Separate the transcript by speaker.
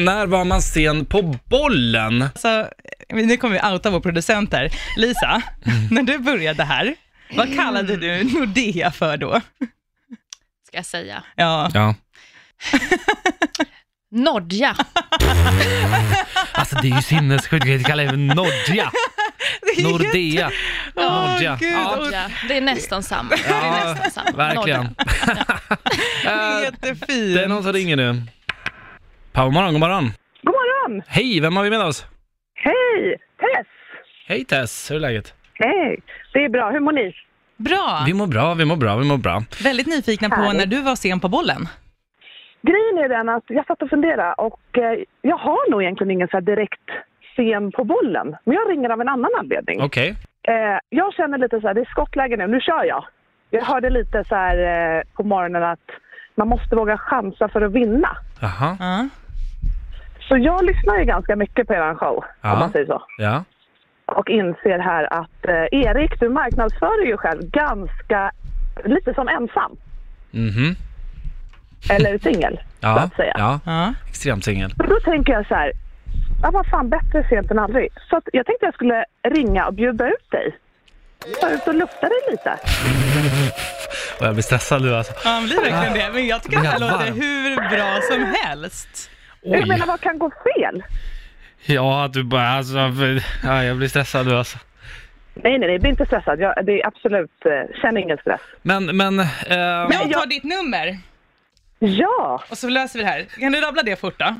Speaker 1: När var man sen på bollen?
Speaker 2: Alltså, nu kommer vi outa vår producent här. Lisa,
Speaker 1: Mm.
Speaker 2: när du började här, vad kallade du Nordea för då?
Speaker 3: ska jag säga.
Speaker 2: Ja,
Speaker 1: Ja.
Speaker 3: Nordja.
Speaker 1: Alltså det är ju sinnessjukt, jag kallar det Nordja,
Speaker 2: det är ju-
Speaker 1: Nordea,
Speaker 2: Åh,
Speaker 1: Nordja.
Speaker 2: gud,
Speaker 1: Ja,
Speaker 2: och-
Speaker 3: Nordja. Det är nästan samma. Det
Speaker 1: Ja,
Speaker 3: är nästan samma.
Speaker 1: verkligen.
Speaker 3: Nordja.
Speaker 1: Eh,
Speaker 2: jättefint.
Speaker 1: Det är någon som ringer nu. Power morgon, god morgon.
Speaker 4: God morgon!
Speaker 1: Hej, vem har vi med oss?
Speaker 4: Hej! Tess!
Speaker 1: Hej Tess, hur är läget?
Speaker 4: Hej! Det är bra. Hur mår ni?
Speaker 2: Bra,
Speaker 1: Vi mår bra, vi mår bra, vi mår bra.
Speaker 2: väldigt nyfikna på
Speaker 4: Härligt.
Speaker 2: när du var sen på bollen.
Speaker 4: Grejen är den att jag satt och funderade och eh, jag har nog egentligen ingen så här direkt sen på bollen. Men jag ringer av en annan anledning.
Speaker 1: Okej.
Speaker 4: Eh, jag känner lite så här, det är skottläge nu, nu kör jag. Jag hörde lite så här eh, på morgonen att man måste våga chansa för att vinna.
Speaker 1: Jaha.
Speaker 2: Ja.
Speaker 4: Så jag lyssnar ju ganska mycket på er show,
Speaker 1: Ja.
Speaker 4: om man säger så.
Speaker 1: Ja.
Speaker 4: och inser här att eh, Erik, du marknadsför dig ju själv ganska lite som ensam.
Speaker 1: Mhm.
Speaker 4: Eller singel, så
Speaker 1: Ja.
Speaker 4: att säga.
Speaker 1: Ja.
Speaker 2: Ja.
Speaker 1: Extremt singel.
Speaker 4: Och då tänker jag så här, ja vad fan, bättre sent än aldrig. Så att jag tänkte jag skulle ringa och bjuda ut dig. Ta ut och lufta dig lite.
Speaker 1: Och jag blir stressad nu alltså.
Speaker 2: Ja, han blir verkligen det. Men jag tycker att det här
Speaker 1: Jävlar.
Speaker 2: låter hur bra som helst.
Speaker 4: Jag
Speaker 1: Oj.
Speaker 4: menar, vad kan gå fel?
Speaker 1: Ja, du bara alltså. Ja, jag blir stressad nu alltså.
Speaker 4: Nej, nej, nej, bli inte stressad. Jag, det är absolut, eh, känner ingen stress.
Speaker 1: Men, men. Eh,
Speaker 2: Men jag
Speaker 4: jag-
Speaker 2: tar ditt nummer
Speaker 4: Ja!
Speaker 2: och så löser vi det här. Kan du rabbla det fort då?